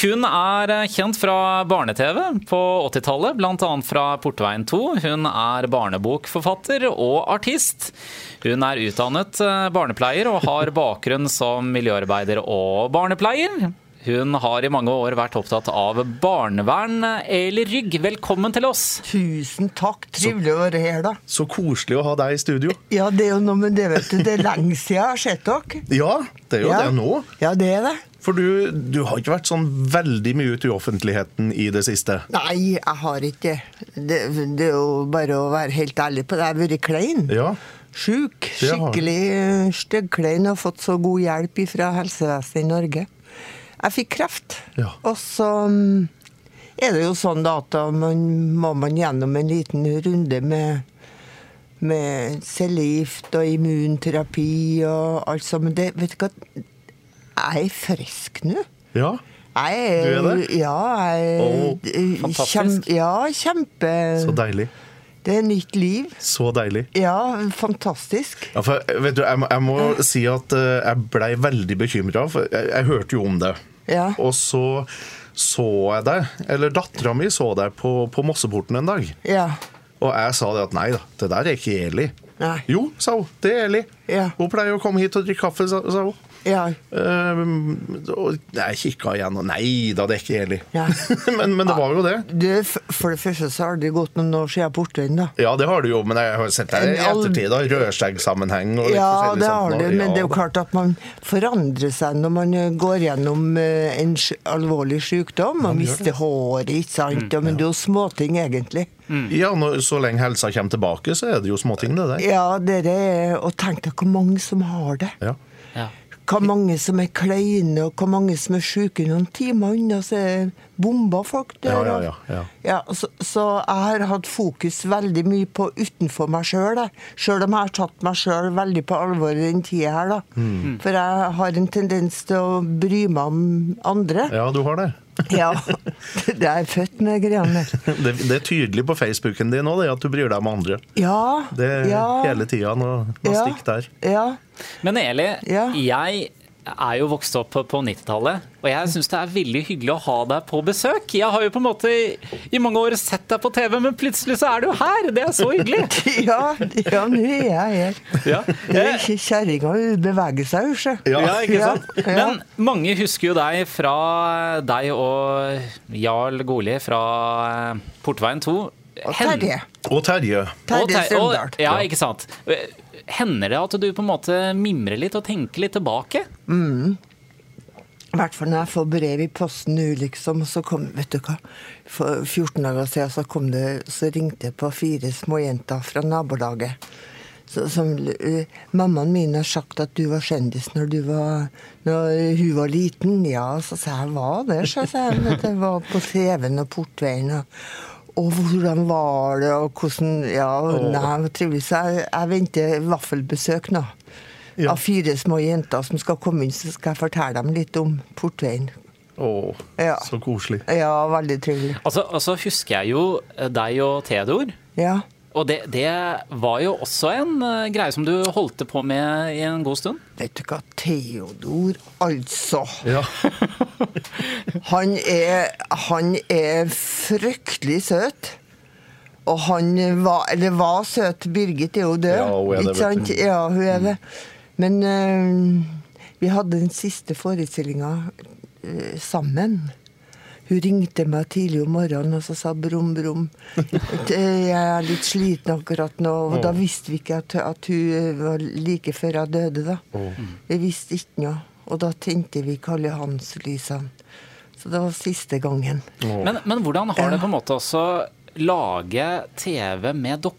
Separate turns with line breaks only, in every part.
Hun er kjent fra barne-TV på 80-tallet, bl.a. fra Portveien 2. Hun er barnebokforfatter og artist. Hun er utdannet eh, barnepleier og har bakgrunn som miljøarbeider og barnepleier. Hun har i mange år vært opptatt av barnevern. Eli Rygg, velkommen til oss.
Tusen takk. Trivelig å være her, da.
Så koselig å ha deg i studio.
Ja, det er jo noe med det, vet du. Det er lenge siden jeg har sett dere.
Ja, det er jo
ja.
det nå.
Ja, det er det.
For du, du har ikke vært sånn veldig mye ute i offentligheten i det siste.
Nei, jeg har ikke det. Det er jo bare å være helt ærlig på det. Jeg har vært klein.
Ja,
Sjuk.
Det har du.
Skikkelig eh, styggklein. Og fått så god hjelp fra helsevesenet i Norge. Jeg fikk kreft.
Ja.
Og så mm, er det jo sånn da at da man, må man gjennom en liten runde med med cellegift og immunterapi og alt sånt. Men det, vet du hva, jeg er frisk nå.
ja.
Jeg er,
Du er det?
Ja, jeg
Åh,
eh,
fantastisk.
kjem- ja, kjempe
Så deilig.
Det er nytt liv.
Så deilig.
Ja, fantastisk.
Ja, for, eh, vet du, jeg, må- jeg må si at eh, jeg blei veldig bekymra, for jeg, jeg hørte jo om det.
Ja.
Og så så jeg deg, eller dattera mi så deg på, på Mosseporten en dag.
Ja.
Og jeg sa det at nei da, det der er ikke Eli.
Nei.
Jo, sa hun. Det er Eli.
Ja.
Hun pleier å komme hit og drikke kaffe, sa, sa hun.
ja.
Ehm, og jeg kikka igjen, og nei da, det er ikke Eli.
Ja.
men, men det var jo det.
Du, f- for det første så har det gått noen år siden jeg er borte ennå.
Ja, det har du jo, men jeg har sett deg i
En al-
ettertid. da, Rødskjeggsammenheng og litt
Ja,
forskjellig
det
sånt
har
nå.
du, men
Ja,
det er jo
da.
klart at man forandrer seg når man eh, går gjennom eh, en sj- alvorlig sykdom. Man mister håret, ikke
Mm,
sant? Ja, Men det er jo småting, egentlig.
Ja, når, Så lenge helsa kommer tilbake, så er det jo småting, det der.
Ja, dere er Og tenk deg hvor mange som har det.
Ja.
Hvor mange som er kleine, og hvor mange som er syke noen timer unna, så er bomba folk dør.
Ja, ja,
av.
ja, ja.
Ja, så, så jeg har hatt fokus veldig mye på utenfor meg sjøl. Sjøl om jeg har tatt meg sjøl veldig på alvor i den tida her, da.
Mm.
For jeg har en tendens til å bry meg om andre.
ja, du har det.
Ja. Det er jeg født med greiene der.
det. Det er tydelig på Facebooken din òg, at du bryr deg om andre.
Ja.
Det er
ja,
hele tida noe, noe
ja,
stikk der.
Ja.
Men Eli,
Ja.
jeg er jo vokst opp på 90-tallet, og jeg syns det er veldig hyggelig å ha deg på besøk. Jeg har jo på en måte i- i mange år sett deg på TV, men plutselig så er du jo her! Det er så hyggelig!
Ja, ja, nå er jeg her.
Ja.
Det er
Eh,
ikke Kjerringa hun beveger seg, hun, sjø.
Ja.
Ja, ikke sant?
Ja, ja.
Men mange husker jo deg fra deg og Jarl Goli fra eh, Portveien 2.
Og
Hen-
Terje.
Og Terje.
og
Terje
Ter- og-
Søndal.
Ja, ikke sant. Hender det at du på en måte mimrer litt og tenker litt tilbake?
I hvert fall når jeg får brev i posten nå, liksom. og Så kom, vet du hva, for 14 dager siden så, kom det, så ringte jeg på fire småjenter fra nabolaget. Så, som, eh, mammaen min har sagt at du var kjendis når, du var, når hun var liten. Ja, så sa jeg var det, så sa jeg. vet du, Jeg var på TV-en og Portveien. Og, og hvordan var det, og hvordan Ja, nei, hvor trivelig. Så jeg, jeg venter vaffelbesøk nå.
Ja.
Av fire små jenter som skal komme inn, så skal jeg fortelle dem litt om Portveien.
Å,
Ja.
så koselig.
Ja, veldig trivelig.
Altså, altså husker jeg jo deg og Theodor.
Ja.
Og det, det var jo også en eh, greie som du holdt på med i en god stund.
Vet du hva, Theodor, altså.
Ja.
Han er, han er fryktelig søt. Og han var, eller var søt. Birgit er jo død.
Ja, hun er det,
ikke
vet
sant?
du. Mm.
Ja, hun er det. Men eh, vi hadde den siste forestillinga eh, sammen. Hun ringte meg tidlig om morgenen og så sa brum, brum. at, eh, Jeg er litt sliten akkurat nå. Og da visste vi ikke at, at hun eh, var like før jeg døde, da. Vi visste ikke noe. Og da tente vi Karl Johans-lysene. Så det var siste gangen.
Men, men hvordan har det på en måte også lage TV med dokker?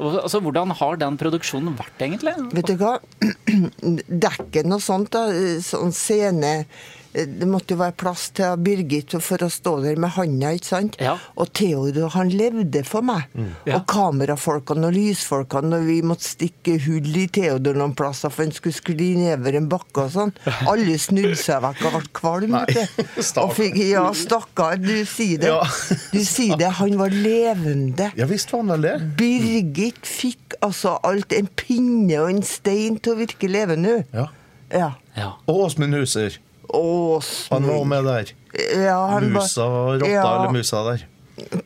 Og- Altså, hvordan har den produksjonen vært egentlig?
Vet du hva? Dekken og sånt, da, sånn scene eh, Det måtte jo være plass til Birgit for å stå der med handa, ikke sant?
Ja.
Og Theodor, han levde for meg.
Mm.
Ja.
Og kamerafolkene og lysfolkene, og vi måtte stikke hull i Theodor noen plasser for han skulle skli nedover en bakke og sånn. Alle snudde seg vekk og ble kvalm.
Nei,
vet du.
stakkar.
Og fikk, ja, stakkar, du sier det.
Ja.
Du sier det. Han var levende.
ja visst var han vel det.
Birgit fikk altså alt en pinne og en stein til å virke levende.
Ja.
Ja.
Ja.
Og Åsmund Huser.
Og
Han var
snu-
med der.
ja, han var-
Musa, rotta
ja,
eller musa der.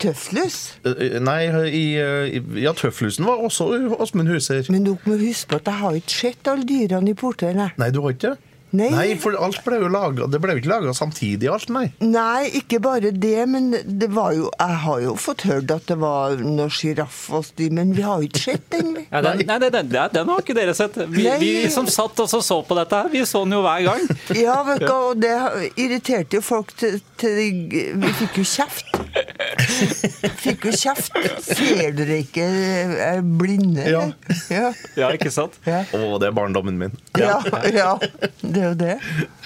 Tøflus.
Eh, Nei, i, eh, i- ja, Tøflusen var også Åsmund Huser.
Men dere må huske på at jeg har ikke sett alle dyrene i portveien. jeg.
Nei, du har ikke det?
Nei.
for alt ble jo laget, det ble jo ikke laga samtidig, alt, nei.
Nei, ikke bare det, men det var jo Jeg har jo fått hørt at det var noe sjiraff hos de, men vi har jo ikke sett den. vi.
Ja, den, nei, det- den, ja, den har ikke dere sett. Vi,
Nei.
vi som satt og så- så på dette her, vi så den jo hver gang.
Ja, vet du, og det irriterte jo folk til, til de, Vi fikk jo kjeft. Fikk jo kjeft. Ser dere ikke er blinde? eller? Ja.
Ja, ikke sant?
Ja.
Å, det er barndommen min.
Ja, ja, det er jo det.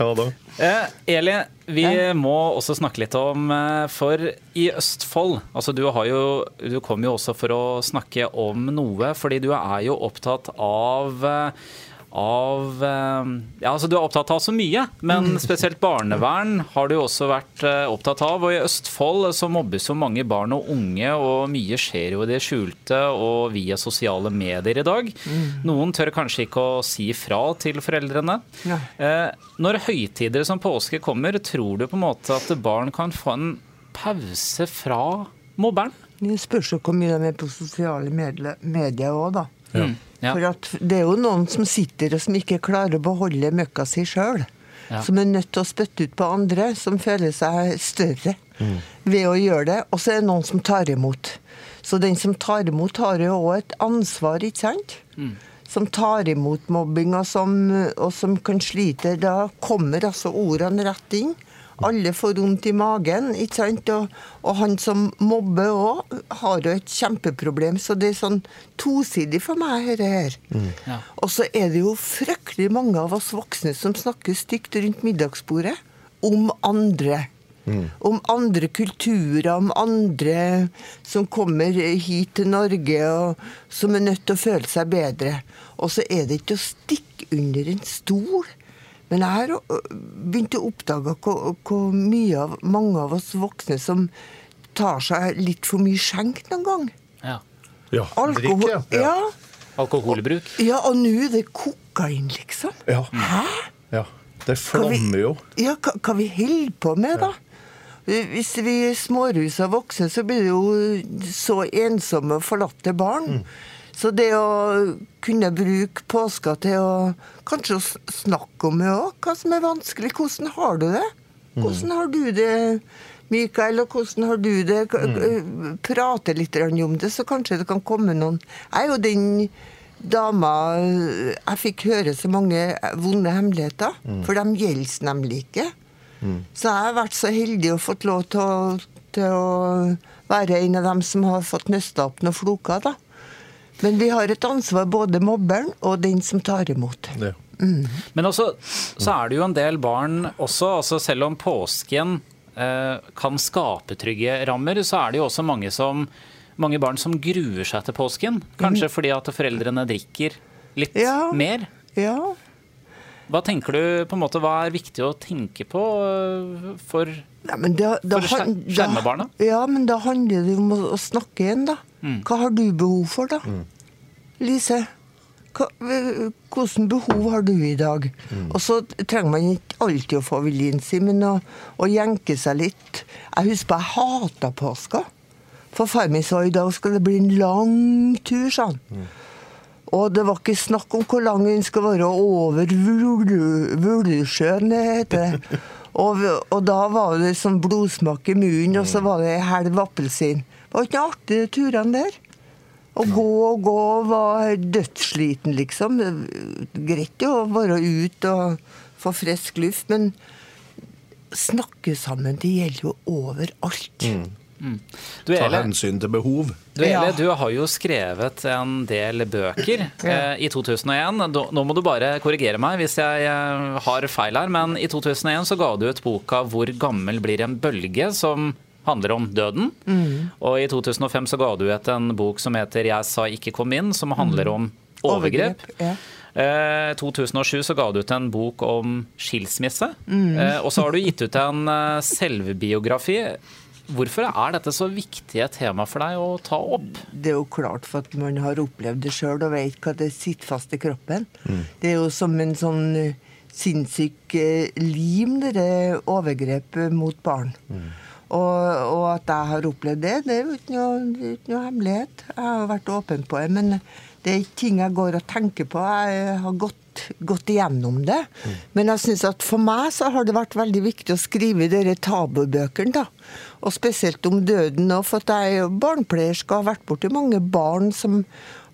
Ja da.
Eh, Eli, vi må også snakke litt om eh, For i Østfold altså du, har jo, du kom jo også for å snakke om noe, fordi du er jo opptatt av eh, av eh, Ja, altså du er opptatt av så mye, men spesielt barnevern har du jo også vært eh, opptatt av. Og i Østfold så mobbes jo mange barn og unge, og mye skjer jo i det skjulte og via sosiale medier i dag. Noen tør kanskje ikke å si fra til foreldrene.
Ja.
Eh, når høytider som påske kommer, tror du på en måte at barn kan få en pause fra mobberen?
Det spørs jo hvor mye de er på sosiale medle- medier òg, da.
Mm. Ja.
For at det er jo noen som sitter og som ikke klarer å beholde møkka si sjøl.
Ja.
Som er nødt til å spytte ut på andre, som føler seg større ved å gjøre det. Og så er det noen som tar imot. Så den som tar imot, har jo òg et ansvar, ikke sant?
Mm.
Som tar imot mobbing, og som, og som kan slite. Da kommer altså ordene rett inn. Alle får vondt i magen, ikke sant? Og, og han som mobber òg, har jo et kjempeproblem. Så det er sånn tosidig for meg, dette her.
Ja.
Og så er det jo fryktelig mange av oss voksne som snakker stygt rundt middagsbordet om andre. Om andre kulturer, om andre som kommer hit til Norge og som er nødt til å føle seg bedre. Og så er det ikke å stikke under en stol. Men jeg har øh, begynt å oppdage hvor, hvor mye av mange av oss voksne som tar seg litt for mye skjenk noen gang.
Ja.
Ja,
Alkohol,
drikke,
ja.
Alkoholbruk.
Ja, og nå er det kokain, liksom.
Ja.
Hæ?
ja. Det
Hva vi-
flommer jo.
Ja, hva, hva vi holder på med, da? Hvis vi smårusa voksne, så blir det jo så ensomme og forlatte barn. Så det å kunne bruke påska til å kanskje å s- snakke om det òg, hva som er vanskelig. Hvordan har du det? Hvordan har du det, Mikael, og hvordan har du det? K- k- Prate litt grann om det, så kanskje det kan komme noen Jeg er jo den dama øh, Jeg fikk høre så mange vonde hemmeligheter, for de gjelder nemlig ikke. Så jeg har vært så heldig og fått lov til å, til å være en av dem som har fått nøsta opp noen floker, da. Men vi har et ansvar, både mobberen og den som tar imot.
Det.
Men også, så er det jo en del barn også, altså selv om påsken eh, kan skape trygge rammer, så er det jo også mange, som, mange barn som gruer seg til påsken. Kanskje fordi at foreldrene drikker litt
Ja.
mer.
Ja.
Hva tenker du på en måte, hva er viktig å tenke på eh, for
Nei, men da, da,
For å skjer-
han-
skjerme barna? Mm.
Ja, men da handler det jo om å, å snakke igjen, da. Hva har du behov for, da? Lise, hva, øh, hvordan behov har du i dag? Og så trenger man ikke alltid å få viljen sin, men å, å jenke seg litt. Jeg husker jeg hata påska. For far min sa i dag skal det bli en lang tur, sa han. Og det var ikke snakk om hvor lang den skal være over Vulu- Vulusjøen, det heter det. Og, og da var det sånn blodsmak i munnen, og så var det en halv appelsin. Det var ikke noe artig, de turene der. Å gå og gå var dødssliten, liksom. Greit jo å være ute og få frisk luft, men snakke sammen, det gjelder jo overalt.
Du,
Ta
Eli,
hensyn til behov.
Du, Eli,
Ja.
du har jo skrevet en del bøker
Ja.
eh, i 2001. Nå nå må du bare korrigere meg hvis jeg eh, har feil her, men i 2001 så ga du ut boka 'Hvor gammel blir en bølge?' som handler om døden.
Mm.
Og i 2005 så ga du ut en bok som heter 'Jeg sa ikke kom inn', som handler
Mm.
om overgrep.
ja.
Eh, 2007 så ga du ut en bok om skilsmisse.
Mm.
Eh, og så har du gitt ut en eh, selvbiografi. Hvorfor er dette så viktige tema for deg å ta opp?
det er jo klart for at man har opplevd det sjøl og veit hva det sitter fast i kroppen. Det er jo som en sånn eh, sinnssyk eh, lim, dette overgrep eh, mot barn. Og, og at jeg har opplevd det, det er jo ikke noe, det er ikke noe hemmelighet. Jeg har vært åpen på det. Men det er ikke ting jeg går og tenker på. Jeg har gått, gått igjennom det. Men jeg synes at for meg så har det vært veldig viktig å skrive dere tabubøkene, da. Og spesielt om døden nå, for at jeg er jo barnepleierske og har vært borti mange barn som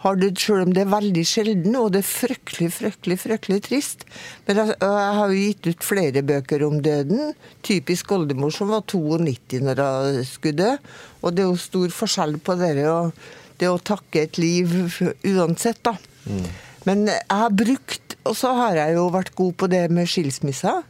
har dødd, selv om det er veldig sjelden, og det er fryktelig, fryktelig, fryktelig trist. Men jeg, og jeg har jo gitt ut flere bøker om døden. Typisk oldemor som var 92 når hun skulle dø. Og det er jo stor forskjell på det, og det å takke et liv uansett, da. Men jeg har brukt, og så har jeg jo vært god på det med skilsmisser.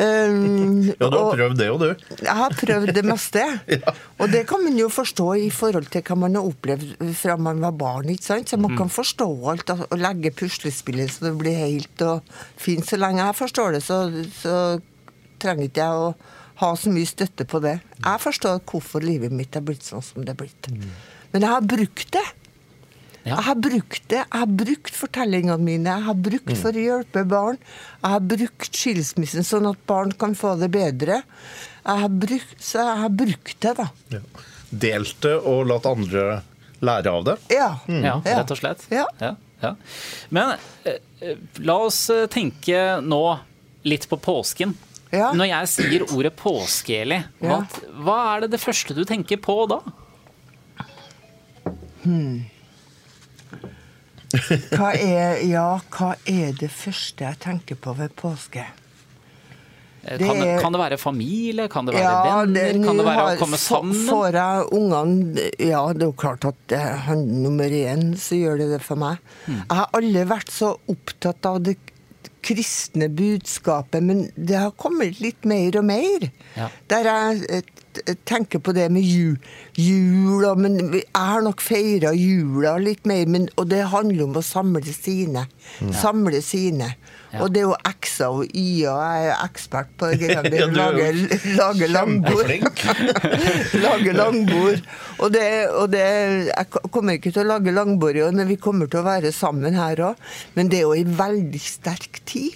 Um,
Ja, du har
og-
prøvd det jo, du.
jeg har prøvd det meste.
Ja.
Og det kan man jo forstå i forhold til hva man har opplevd fra man var barn. ikke sant? Så
Mm.
man kan forstå alt og og legge puslespillet så det blir helt og fint. Så lenge jeg forstår det, så, så trenger ikke jeg å ha så mye støtte på det. Jeg forstår hvorfor livet mitt er blitt sånn som det er blitt.
Mm.
Men jeg har brukt det.
Ja.
Jeg har brukt det. Jeg har brukt fortellingene mine. Jeg har
Mm.
brukt for å hjelpe barn. Jeg har brukt skilsmissen sånn at barn kan få det bedre. Jeg har brukt, så jeg har brukt det, da.
Ja. Delte og latt andre lære av det.
Mm. Ja.
Mm. Ja, rett og slett.
Ja.
Ja, ja. Men eh, eh, la oss eh, tenke nå litt på påsken.
Ja.
Når jeg sier ordet påske, Eli, hva,
Ja.
hva er det det første du tenker på da?
Hva er, ja, hva er det første jeg tenker på ved påske?
Eh,
Det
Kan det,
er-
kan det være familie? Kan det være
Ja,
venner?
det-
kan
nå
det være
har-
å komme
få-
sammen?
Får jeg ungene Ja, det er jo klart at det er han nummer én, så gjør det det for meg.
Hmm.
Jeg har aldri vært så opptatt av det kristne budskapet, men det har kommet litt mer og mer.
Ja.
Der jeg eh, t- tenker på det med jul, jul og, men vi- jeg har nok feira jula litt mer, men, og det handler om å samle sine. Samle sine.
Hmm. Ja.
Og det er jo X-er og Y-er, og jeg er ekspert på det greiene der.
Ja, du er jo
Lage lage langbord.
Flink.
lage langbord. Og, det, og det, jeg ko- kommer ikke til å lage langbord i år, men vi kommer til å være sammen her òg. Men det er jo ei veldig sterk tid.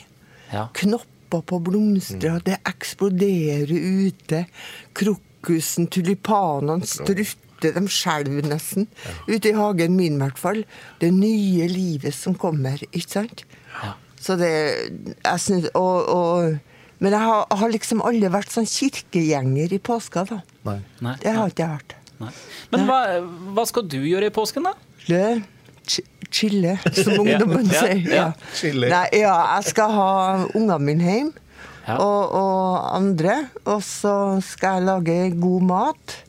Ja.
Knopper på blomstrer, det eksploderer ute. Krokusen, tulipanene strutter. De skjelver nesten. Ute i hagen min, i hvert fall. Det nye livet som kommer, ikke sant? Så det jeg synes, og, og, Men jeg har, har liksom aldri vært sånn kirkegjenger i påska, da.
Nei.
Nei,
Det har ikke jeg vært.
nei. Men hva, hva skal du gjøre i påsken, da?
Lø, chi- chille, som ungdommen
ja,
sier.
ja.
Chille.
Nei, ja, jeg skal ha ungene mine hjem,
Ja.
og, og andre. Og så skal jeg lage god mat.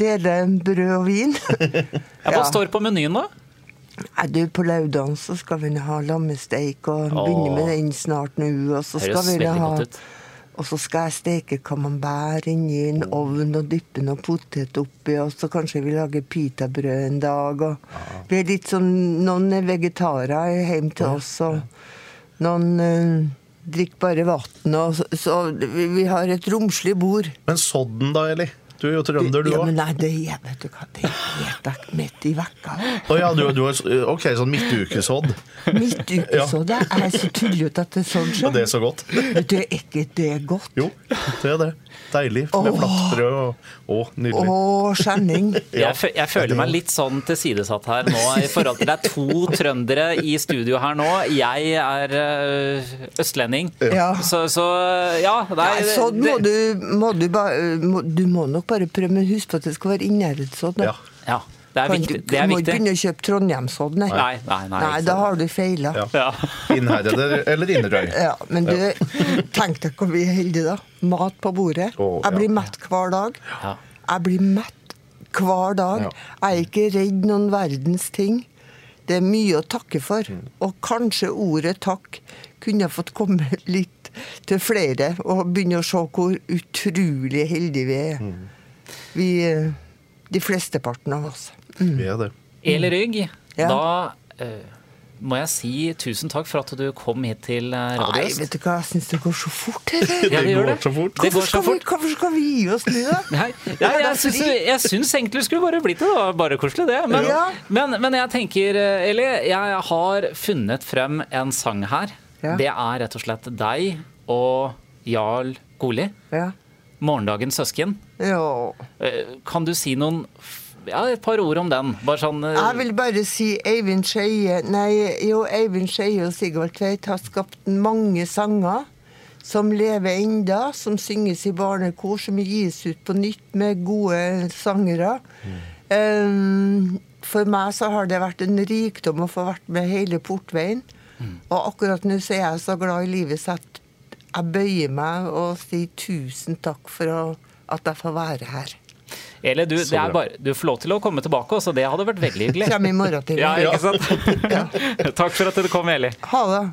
Dele brød og vin.
Ja, Hva
Ja.
står på menyen, da?
Nei, du, på lørdagen så skal vi nå ha lammesteik, og
Åh.
begynne med den snart nå. Og så skal
Høres
vi nå
veldig
ha
godt ut.
Og så skal jeg steke camembert inni en ovn og dyppe noe potet oppi, og så kanskje vi lager pitabrød en dag. Og vi er litt sånn Noen er vegetarer hjem til oss, og noen eh, drikker bare vann. Og så, så vi, vi har et romslig bord.
Men sodden da, Eli? Du er jo trønder, du
ja,
òg.
men nei, det er vet du hva, det er helt midt i vekka.
Å ja, du, du er, ok, sånn midtukesodd. Ja.
Midtukesodd. Jeg er så tullete at det er sånn.
Og det er så godt.
Vet du, er ikke det godt?
Jo, det er det. Deilig med flatt brød og Å, nydelig.
Å, skjenning.
Jeg, fø- jeg føler meg litt sånn tilsidesatt her nå. i forhold til Det er to trøndere i studio her nå. Jeg er øh, østlending.
Ja.
Så, så ja. Nei,
Nei, sånn må
det-
du må du, ba, må, du må nok bare prøve, men husk på at det skal være innæretsådd.
Ja.
Ja, det er viktig. Det er
Du må ikke
viktig.
begynne å kjøpe Trondheimsådd, nei.
Nei, nei, nei.
da har du feila.
Ja.
Ja.
Ja.
Innherrede eller innerøy.
men du, tenk deg hvor vi er heldige, da. Mat på bordet.
Å, ja.
Jeg blir mett hver dag.
Ja.
Jeg blir mett hver dag.
Ja.
Jeg er ikke redd noen verdens ting. Det er mye å takke for.
Mm.
Og kanskje ordet takk kunne ha fått komme litt til flere, og begynne å se hvor utrolig heldige vi er.
Mm.
Vi, eh, de flesteparten av oss.
Vi er det.
Eli Rygg,
Ja.
da øh, må jeg si tusen takk for at du kom hit til øh, Radio
Nei,
Øst.
vet du hva, jeg syns det går så fort, eller?
Ja,
Det
det gjør
går
det.
så fort.
Det går
Hvorfor
så
skal, vi,
fort.
hvorfor skal vi gi oss nå, da?
Nei, nei,
Ja, da
jeg, syns,
fordi-
jeg syns egentlig du skulle bare blitt det. Det var bare koselig, det. Men,
Ja.
men, men jeg tenker, eh, Eli, jeg har funnet frem en sang her
Ja.
Det er rett og slett deg og Jarl Goli,
Ja.
morgendagens søsken.
Ja.
Eh, Kan du si noen f- ja, et par ord om den? Bare sånn eh,
Jeg vil bare si Eivind Skeie Nei, jo, Eivind Skeie og Sigvald Tveit har skapt mange sanger som lever enda, som synges i barnekor, som gis ut på nytt med gode sangere. Eh, for meg så har det vært en rikdom å få vært med hele portveien. Og akkurat nå så er jeg så glad i livet så at jeg bøyer meg og sier tusen takk for å, at jeg får være her.
Eller du,
Så
det er
bra.
bare, du får lov til å komme tilbake også, det hadde vært veldig hyggelig.
Kjem i morgen tidlig.
Ja, ikke sant? Takk for at du kom, Eli.
Ha det.